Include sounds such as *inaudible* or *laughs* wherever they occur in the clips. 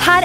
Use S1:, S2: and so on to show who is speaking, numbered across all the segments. S1: her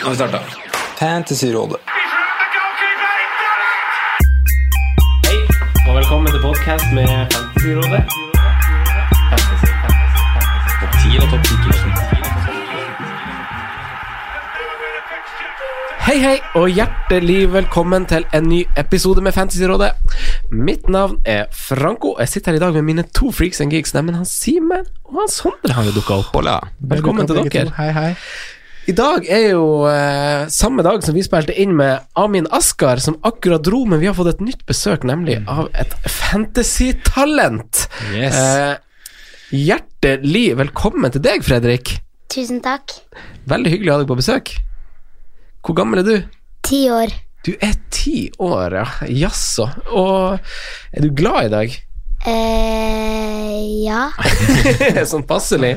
S2: Nå har vi starta. Fantasyrådet. Hei, og velkommen til podkast med Fantasyrådet. Fantasy, fantasy, fantasy. Topp 10 og topp 10 Hei, hei, og hjertelig velkommen til en ny episode med Fantasyrådet. Mitt navn er Franco, og jeg sitter her i dag med mine to freaks and geeks, nemlig han Simen og han Sondre har jo dukka opp. Velkommen til dere.
S3: Hei, hei.
S2: I dag er jo eh, samme dag som vi spilte inn med Amin Askar, som akkurat dro, men vi har fått et nytt besøk, nemlig av et fantasy-talent.
S3: Mm. Yes.
S2: Eh, hjertelig velkommen til deg, Fredrik.
S4: Tusen takk.
S2: Veldig hyggelig å ha deg på besøk. Hvor gammel er du?
S4: Ti år.
S2: Du er ti år, ja. Jaså. Og er du glad i *laughs* dag?
S4: Eh, ja.
S2: sånn passelig.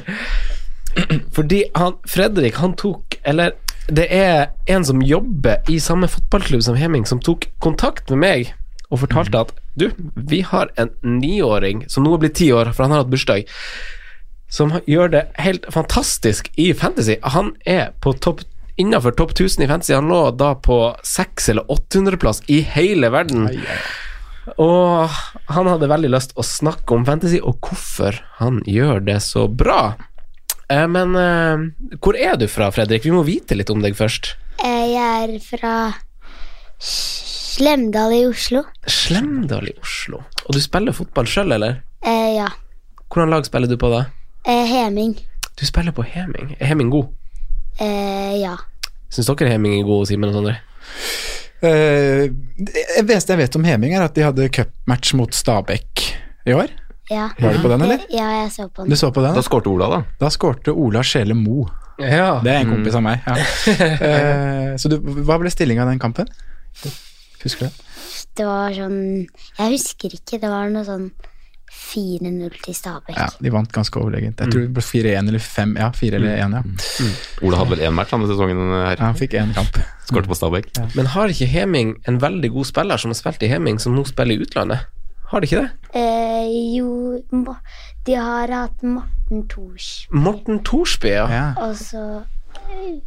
S2: Fordi han, Fredrik, han tok Eller det er en som jobber i samme fotballklubb som Heming, som tok kontakt med meg og fortalte at du, vi har en niåring som nå er blitt ti år, for han har hatt bursdag, som gjør det helt fantastisk i Fantasy. Han er på topp Innenfor topp 1000 i Fantasy. Han lå da på 600- eller 800-plass i hele verden. Og han hadde veldig lyst å snakke om fantasy, og hvorfor han gjør det så bra. Eh, Men eh, hvor er du fra, Fredrik? Vi må vite litt om deg først.
S4: Eh, jeg er fra S- Slemdal i Oslo.
S2: Slemdal i Oslo. Og du spiller fotball sjøl, eller?
S4: Eh, ja.
S2: Hvordan lag spiller du på, da?
S4: Eh, Heming.
S2: Du spiller på Heming. Er Heming god?
S4: Eh, ja.
S2: Syns dere Heming er god, Simen og Sondre?
S3: Eh, det beste jeg vet om Heming, er at de hadde cupmatch mot Stabæk i år.
S4: Ja. Eh,
S3: Var du på den, eller?
S4: Ja, jeg så på
S3: Du
S4: den.
S3: så på den?
S2: Da skårte Ola, da.
S3: Da skårte Ola Sjele Mo.
S2: Ja.
S3: Det er en kompis av meg. Ja. *laughs* Eh, så du, hva ble stillinga i den kampen? Husker du det?
S4: Det var sånn Jeg husker ikke. Det var noe sånn 4-0 til Stabæk.
S3: Ja, de vant ganske overlegent. Jeg tror det ble 4-1 eller 5. Ja, 4 eller 1,
S5: Mm.
S3: ja.
S5: Ola hadde vel én match denne sesongen her.
S3: ja han fikk én kamp.
S5: Skårte på Stabæk.
S2: Men har ikke Heming en veldig god spiller som har spilt i Heming, som nå spiller i utlandet? Har de ikke det?
S4: Eh, jo Ma- De har hatt Morten Thors.
S2: Morten Thorsby, ja.
S3: Ja.
S4: Og så eh,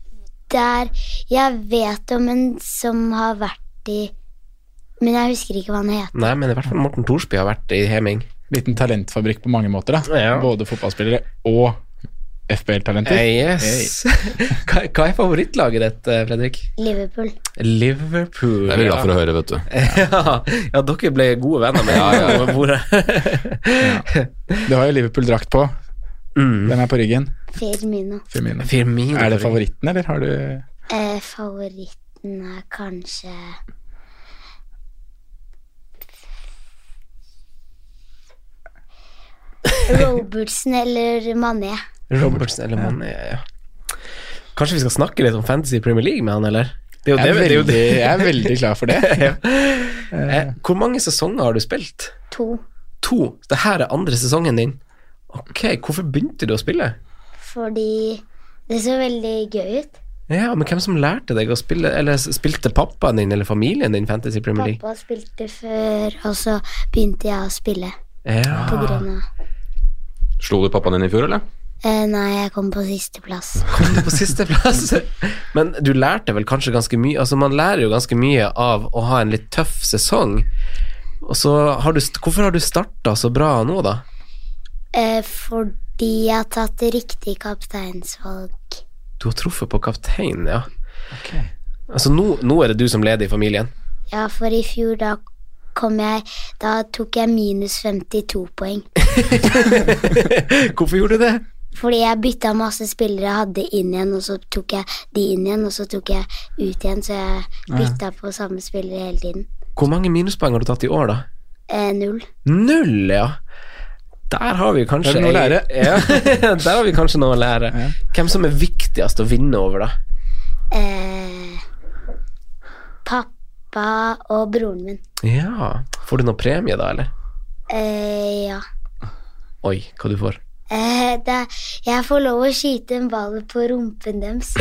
S4: Der Jeg vet om en som har vært i Men jeg husker ikke hva han het.
S2: Nei, men i hvert fall Morten Thorsby har vært i Heming.
S3: Liten talentfabrikk på mange måter, da.
S2: Ja.
S3: Både fotballspillere og FBL-talenter.
S2: Eh, yes. hva, hva er favorittlaget ditt, eh, Fredrik?
S4: Liverpool.
S2: Liverpool.
S5: Det er vi glad for å høre, vet du.
S2: *laughs* Ja, ja dere ble gode venner med *laughs* over bordet.
S3: Du har jo Liverpool-drakt på.
S2: Mm.
S3: Den er på ryggen.
S4: Firmino.
S3: Firmino.
S2: Firmino.
S3: Er det favoritten, eller har du
S4: Eh, favoritten er kanskje Robertson eller Mané.
S2: Robertsen eller Mané, ja. Kanskje vi skal snakke litt om Fantasy Premier League med han, eller? Det er
S3: Jeg
S2: jo
S3: er,
S2: det, det, er jo
S3: veldig,
S2: det.
S3: jeg er veldig klar for det.
S2: Eh, Hvor mange sesonger har du spilt?
S4: To.
S2: To. Det her er andre sesongen din. Ok, hvorfor begynte du å spille?
S4: Fordi det så veldig gøy ut.
S2: Ja, men hvem som lærte deg å spille, eller spilte pappaen din eller familien din Fantasy Premier League?
S4: Pappa spilte før, og så begynte jeg å spille på
S2: Ja.
S4: grunn av
S5: Slo du pappaen din i fjor, eller?
S4: eh, Nei, jeg kom på sisteplass.
S2: kom du *laughs* på sisteplass. Men du lærte vel kanskje ganske mye Altså Man lærer jo ganske mye av å ha en litt tøff sesong. Og så har du, st- Hvorfor har du starta så bra nå, da?
S4: Eh, fordi jeg har tatt riktig kapteinsvalg.
S2: Du har truffet på kapteinen, ja. Altså nå, nå er det du som leder i familien.
S4: Ja, for i fjor da kom jeg Da tok jeg minus 52 poeng.
S2: Hvorfor gjorde du det?
S4: Fordi jeg bytta masse spillere jeg hadde inn igjen, og så tok jeg de inn igjen, og så tok jeg ut igjen, så jeg
S2: Ja.
S4: bytta på samme spillere hele tiden.
S2: Hvor mange minuspoeng har du tatt i år, da?
S4: Eh, null.
S2: Null, ja. Der har vi
S3: Der er
S2: kanskje
S3: det noe å lære.
S2: *laughs* Ja, der har vi kanskje noe å lære. Hvem som er viktigst å vinne over, da?
S4: Eh, pappa og broren min.
S2: Ja. Får du noe premie, da, eller?
S4: Eh, ja.
S2: Oi, hva du får.
S4: Eh, det, jeg får lov å skyte en ball på rumpen deres.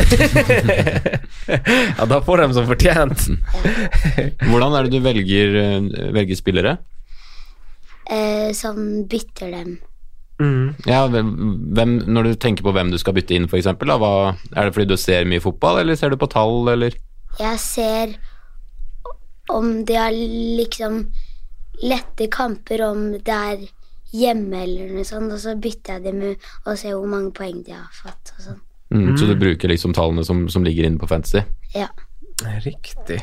S2: Ja, da får de som fortjent.
S5: Hvordan er det du velger, eh, velger spillere?
S4: eh, som bytter dem.
S5: Ja, hvem, hvem- når du tenker på hvem du skal bytte inn, for eksempel, da, hva, er det fordi du ser mye fotball, eller ser du på tall, eller?
S4: Jeg ser om de har liksom lette kamper, om det er hjemme eller noe sånt, og så bytter jeg dem ut og ser hvor mange poeng de har fått og sånn.
S5: Mm, Så du bruker liksom tallene som, som ligger inne på fantasy?
S4: Ja.
S2: Riktig.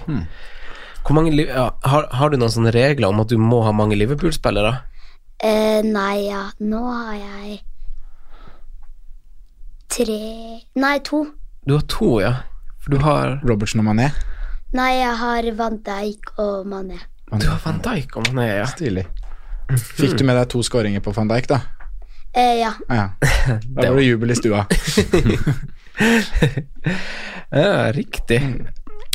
S2: Hvor mange, liv- ja, har, har du noen sånne regler om at du må ha mange Liverpool-spillere?
S4: Eh, nei, ja, nå har jeg tre Nei, to.
S2: Du har to, ja. For du har
S3: Robertsen og Mané.
S4: Nei, jeg har Van Dijk og Mané.
S2: Du har Van Dijk og Mané, ja.
S3: Stilig. Fikk du med deg to skåringer på van Dijk, da? Ah,
S4: Eh, ja.
S3: Ja. Da var det jubel i stua.
S2: Ja, riktig.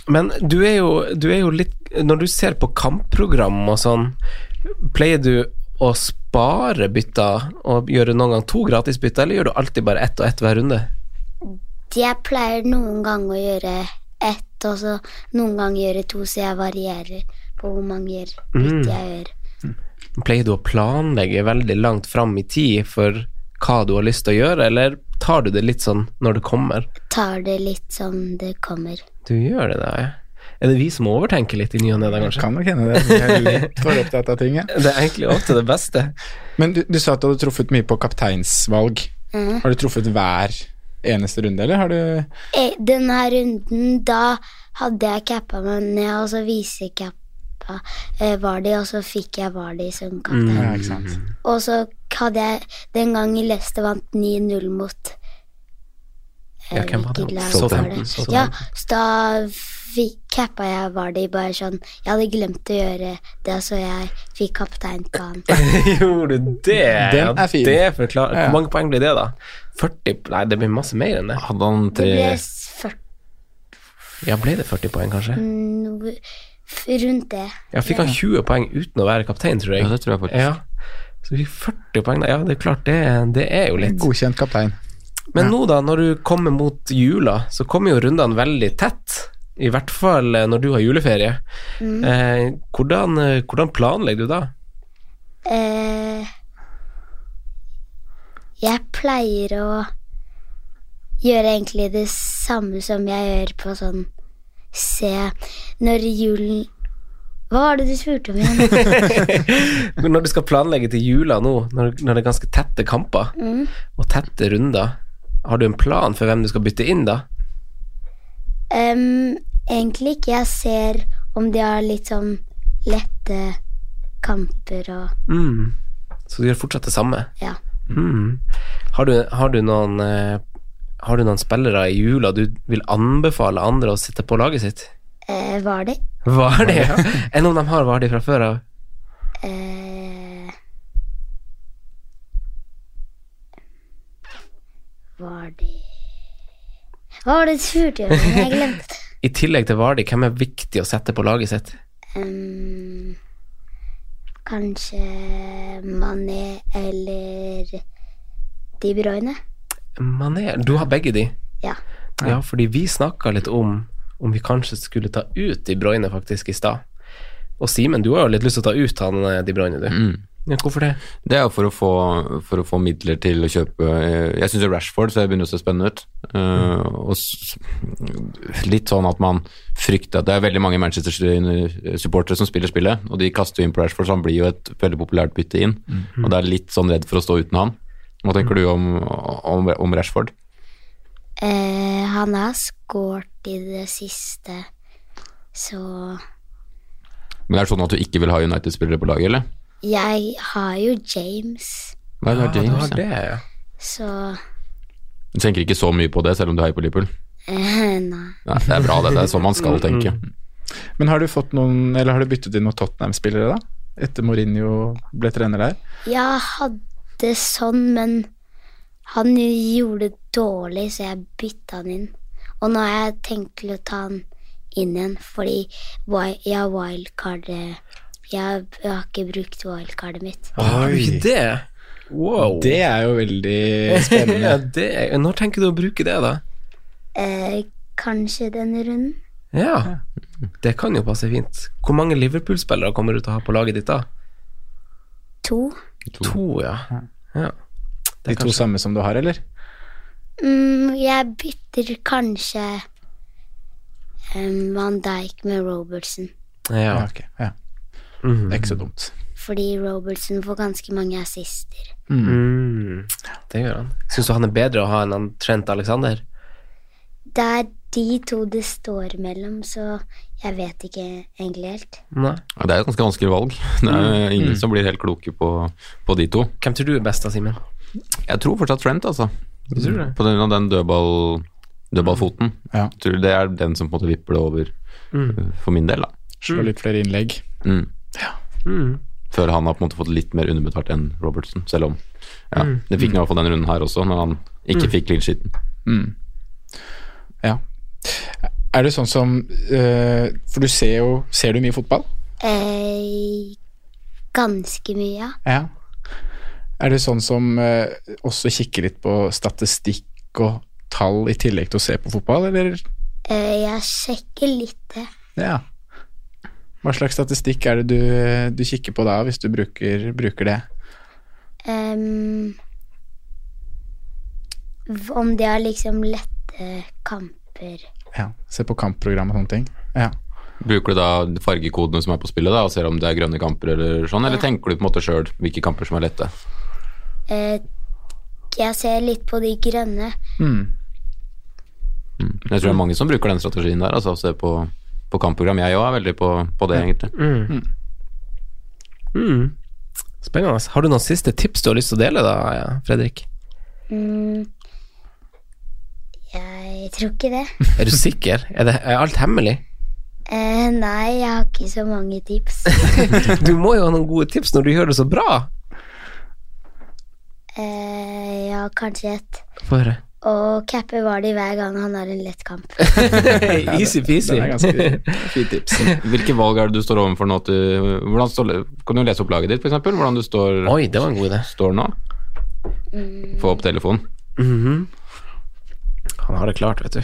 S2: Men du er, jo, du er jo litt Når du ser på kampprogram og sånn, pleier du å spare bytter og gjøre noen gang to gratisbytter, eller gjør du alltid bare ett og ett hver runde?
S4: Jeg pleier noen ganger å gjøre ett, og så noen ganger gjøre to, så jeg varierer på hvor mange bytt jeg gjør.
S2: Pleier du å planlegge veldig langt fram i tid for hva du har lyst til å gjøre, eller tar du det litt sånn når det kommer?
S4: Tar det litt som det kommer.
S2: Du gjør det, da, ja. Er det vi som overtenker litt i ny og ne, da, kanskje?
S3: Kan nok hende det. Vi er litt for opptatt av ting, ja.
S2: Det er egentlig ofte det *laughs* beste.
S3: Men du, du sa at du hadde truffet mye på kapteinsvalg. Har du truffet hver eneste runde, eller har du
S4: Eh, Denne runden, da hadde jeg cappa meg ned, og så visecappa eh, Vardi, og så fikk jeg Vardi som kaptein.
S3: Ja, ikke sant.
S4: Og så hadde jeg den gangen Leicester vant 9-0 mot eh,
S2: Ja, hvem var det?
S4: hvilket lag
S2: Southampton.
S4: var det?
S2: Southampton.
S4: Ja, så da fikk, cappa jeg Vardi bare sånn Jeg hadde glemt å gjøre det, så jeg fikk kaptein på han.
S2: Gjorde du det?
S3: Den er fin.
S2: Det forklarer.
S3: Ja.
S2: Hvor mange poeng blir det, da? 40? Nei, det blir masse mer enn det.
S5: Hadde han
S4: Det ble
S5: tre
S4: 40,
S2: Ja, ble det 40 poeng, kanskje?
S4: Mm. noe f- rundt det.
S2: Ja, fikk han 20 poeng uten å være kaptein, tror jeg.
S5: Ja, det tror jeg faktisk.
S2: Ja. Så vi fikk 40 poeng, da. Ja, det er klart, det, det er jo litt.
S3: Godkjent kaptein.
S2: Men nå, da, når du kommer mot jula, så kommer jo rundene veldig tett. I hvert fall eh, når du har juleferie. Eh, hvordan, eh, hvordan planlegger du da?
S4: Eh, jeg pleier å gjøre egentlig det samme som jeg gjør på sånn Se når julen Hva var det du spurte om igjen?
S2: Men Når du skal planlegge til jula nå, når, når det er ganske tette kamper og tette runder, har du en plan for hvem du skal bytte inn da?
S4: Em, egentlig ikke. Jeg ser om de har litt sånn lette kamper og
S2: Mm. Så du gjør fortsatt det samme?
S4: Ja.
S2: Mm. Har, du, har, du noen, eh, har du noen spillere i jula du vil anbefale andre å sitte på laget sitt?
S4: Eh, var det?
S2: Var det? Enn om de har Vardi fra før av?
S4: Eh, var det Hva var det du spurte om? igjen? Jeg glemte.
S2: I tillegg til Vardi, hvem er viktig å sette på laget sitt?
S4: Ehm, kanskje Mané eller De Bruyne?
S2: Mané, du har begge de.
S4: Ja.
S2: Ja, fordi vi snakka litt om om vi kanskje skulle ta ut De Bruyne faktisk i stad. Og Simen, du har jo litt lyst til å ta ut han eh, De Bruyne, du. Ja, hvorfor det?
S5: Det er jo for å få, for å få midler til å kjøpe eh, Jeg syns Rashford ser begynner å se spennende ut. Eh, og s- litt sånn at man frykter at Det er veldig mange Manchester-supportere som spiller spillet, og de kaster jo inn på Rashford, så han blir jo et veldig populært bytte inn. Og det er litt sånn redd for å stå uten han. Hva tenker du om, om, om Rashford?
S4: Eh, han har skåret i det siste, så
S5: Men er det sånn at du ikke vil ha United-spillere på laget, eller?
S4: Jeg har jo James,
S5: Nei, det er
S2: Ja, du
S5: James,
S2: har det,
S5: ja.
S2: ja.
S4: så
S5: Du tenker ikke så mye på det, selv om du heier på Liverpool?
S4: eh, Nei.
S5: Nei, det er bra, det. Det er sånn man skal tenke.
S3: Mm, Men har du fått noen, eller har du byttet inn noen Tottenham-spillere, da? Etter Mourinho ble trener der?
S4: Jeg hadde sånn, men han gjorde det dårlig, så jeg bytta han inn. Og nå har jeg tenkt til å ta han inn igjen, fordi wi- jeg har wildcardet jeg, jeg har ikke brukt wildcardet mitt.
S2: Har du ikke det? Wow.
S3: Det er jo veldig
S2: *laughs* ja,
S3: *laughs* spennende.
S2: det er, når tenker du å bruke det, da?
S4: Eh, kanskje denne runden?
S2: Ja, det kan jo passe fint. Hvor mange Liverpool-spillere kommer du til å ha på laget ditt da?
S4: To?
S2: To, ja. ja.
S3: De to samme som du har, eller?
S4: Mm, jeg bytter kanskje um, Van Dijk med Robertson.
S2: Ja.
S3: ok. Ja.
S2: Mhm.
S3: Det er ikke så dumt.
S4: Fordi Robertson får ganske mange assister.
S2: Mm. Det gjør han. Syns du han er bedre å ha enn han Trent Alexander?
S4: Det er de to det står mellom, så jeg vet ikke egentlig helt.
S2: Nei.
S5: Ja, Det er et ganske vanskelig valg. Det
S3: Mm.
S5: er ingen som blir helt kloke på, på de to.
S2: Hvem tror du er best da, Simen?
S5: Jeg tror fortsatt Trent, altså.
S2: Du tror det?
S5: På grunn av den dødball, dødballfoten.
S3: Ja.
S5: Jeg tror det er den som på en måte vipper det over
S2: Mm.
S5: eh, for min del, da.
S3: Slå litt flere innlegg.
S5: Mm.
S2: Mm.
S5: Føler han har på en måte fått litt mer underbetalt enn Robertson, selv om ja,
S2: Mm.
S5: det fikk han i hvert fall denne runden her også, når han ikke fikk clean sheeten.
S3: Mm. Ja. Er det sånn som eh, For du ser jo Ser du mye fotball?
S4: Eh, ganske mye, ja.
S3: Ja. Er det sånn som eh, også kikker litt på statistikk og tall i tillegg til å se på fotball, eller?
S4: Eh, jeg sjekker litt det.
S3: Ja. Hva slags statistikk er det du, du kikker på da, hvis du bruker, bruker det?
S4: Em, v- om det er liksom lette kamper.
S3: Ja. Se på kampprogram og sånne ting. Ja.
S5: Bruker du da fargekodene som er på spillet, da, og ser om det er grønne kamper eller sånn, eller tenker du på en måte sjøl hvilke kamper som er lette?
S4: Eh, jeg ser litt på de grønne.
S5: Jeg tror det er mange som bruker den strategien der, altså å se på, på kampprogram. Jeg òg er veldig på, på det, egentlig.
S2: Mm. Spennende. Har du noen siste tips du har lyst til å dele, da, ja, Fredrik?
S4: Mm, jeg tror ikke det. *laughs*
S2: Er *laughs* du sikker? Er, det, er alt hemmelig?
S4: Eh, nei, jeg har ikke så mange tips.
S2: Du må jo ha noen gode tips når du gjør det så bra.
S4: Eh, ja, kanskje et.
S2: Få høre.
S4: Og cappe Vardy hver gang han har en lett kamp.
S2: Easy-peasy.
S3: Den er
S2: *laughs*
S3: ganske fin tips.
S5: Hvilke valg er det du står overfor nå? Til, hvordan står, kan du lese opp laget ditt, f.eks.? Hvordan du står,
S2: Oi, det var en god idé.
S5: står nå? Få opp telefonen.
S2: Mhm. Han har det klart, vet du.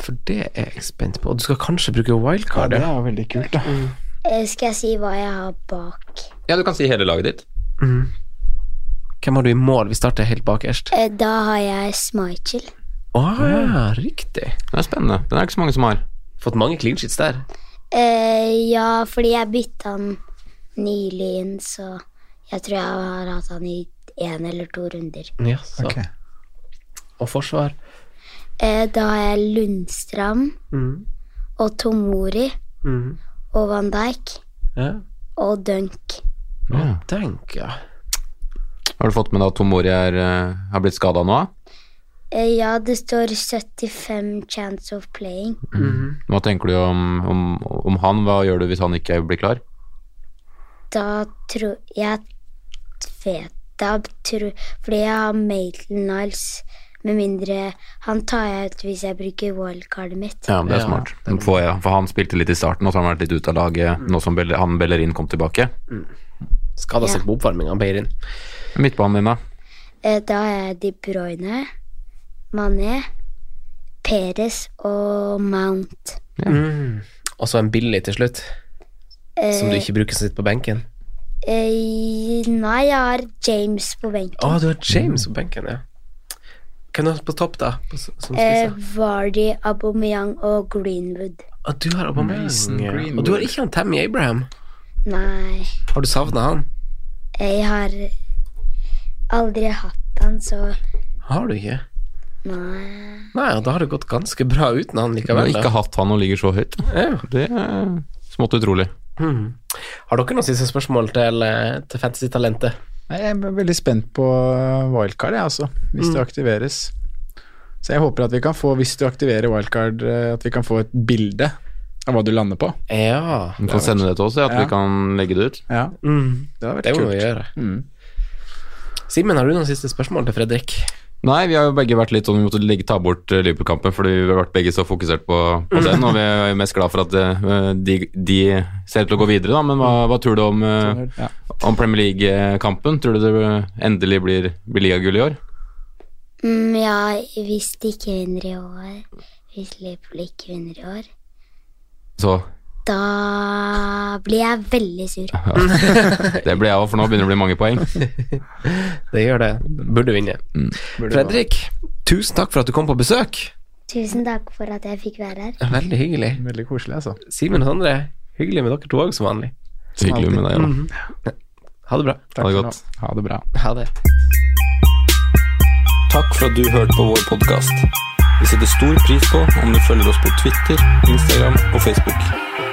S2: For det er jeg spent på. Og Du skal kanskje
S3: Ja,
S2: bruke wildcard?
S3: det
S2: Ja,
S3: er jo veldig kult, da.
S4: Eh, skal jeg si hva jeg har bak?
S5: Ja, du kan si hele laget ditt.
S2: Hvem har du i mål? Vi starter helt bakerst.
S4: Eh, da har jeg Smichel.
S2: Å, Ah, riktig.
S5: Det er spennende. Den er ikke så mange som har.
S2: Fått mange clean sheets der.
S4: Eh, ja, fordi jeg bytta han nylig inn, så jeg tror jeg har hatt han i én eller to runder.
S2: Ja, så.
S3: Ok.
S2: Og forsvar.
S4: Eh, da har jeg Lundstrand
S2: Mhm.
S4: og Tomori
S2: Mhm.
S4: og Van Dijk
S2: Ja.
S4: og Dunk.
S2: Ja. Tenk, ja.
S5: Har du fått med deg at Tomori er, eh, har blitt skada nå?
S4: Eh, ja, det står 75 chance of playing.
S5: Hva tenker du om, om, om han? Hva gjør du hvis han ikke blir klar?
S4: Da tror Jeg vet da tror, Fordi jeg har Maitland Niles. Med mindre han tar jeg ut hvis jeg bruker wildcardet mitt.
S5: Ja, det er
S2: Ja,
S5: smart. For, ja, for han spilte litt i starten, og så har han vært litt ute av laget nå som Bell- han Bellerin kom tilbake.
S2: Skada seg på oppvarminga, Beirin.
S5: Midtbanen din, da?
S4: Eh, Da har jeg De Bruyne, Mané, Perez og Mount.
S2: Og så en billig til slutt, som du
S4: Eh,
S2: ikke bruker som sitter på benken.
S4: eh, nei, jeg har James på
S2: Å,
S4: benken.
S2: du har James på benken, ja. Hvem er på topp, da? På, s- som
S4: Eh,
S2: spisser?
S4: Vardy, Aubameyang og Greenwood.
S2: Og du har Aubameyang.
S3: Mason
S2: ja.
S3: Mm, Greenwood.
S2: Og du har ikke han Tammy Abraham.
S4: Nei,
S2: Har du savna han?
S4: jeg har aldri hatt han, så
S2: Har du ikke?
S4: Nei.
S2: Nei, og da har det gått ganske bra uten han
S5: Du har
S2: likevel. da.
S5: ikke hatt han og ligger så høyt.
S2: Ja.
S5: Det er smått utrolig.
S2: Hmm. Har dere noen siste spørsmål til, eh, til Fantasy-talentet?
S3: Nei, jeg er veldig spent på wildcard, jeg, altså. Hvis det aktiveres. Så jeg håper at vi kan få, hvis du aktiverer wildcard, eh, at vi kan få et bilde av hva du lander på.
S2: Ja.
S5: Du kan sende det til oss, ja, at
S3: Ja.
S5: vi kan legge det ut.
S3: Ja,
S2: Mm.
S3: det hadde vært
S2: Det må vi
S3: kult.
S2: gjøre.
S3: Mm.
S2: Simen, har du noen siste spørsmål til Fredrik?
S5: Nei, vi har jo begge vært litt sånn Vi måtte legge, ta bort eh, Liverpool-kampen fordi vi har vært begge så fokusert på, på den. Og vi er jo mest glad for at eh, de, de ser ut til å gå videre, da. Men hva, hva tror du om, eh,
S3: Ja.
S5: om Premier League-kampen? Tror du det endelig blir, blir ligagull i år?
S4: Mm, ja, hvis de ikke vinner i år Hvis Liverpool ikke vinner i år,
S5: Så
S4: da blir jeg veldig sur.
S5: *laughs* det ble jeg òg, for nå begynner det å bli mange poeng.
S2: Det gjør det. Burde vinne.
S3: Mm.
S2: Fredrik, tusen takk for at du kom på besøk.
S4: Tusen takk for at jeg fikk være her.
S2: Veldig hyggelig.
S3: Veldig koselig, altså.
S2: Simen og Sondre, hyggelig med dere to òg, som vanlig.
S5: Hyggelig med deg, da.
S2: Ha det bra.
S3: Takk
S5: Ha det
S3: for
S5: godt.
S6: Mm,
S3: nå. Ha det bra.
S2: Ha det.
S6: Takk for at du hørte på vår podkast. Vi setter stor pris på om du følger oss på Twitter, Instagram og Facebook.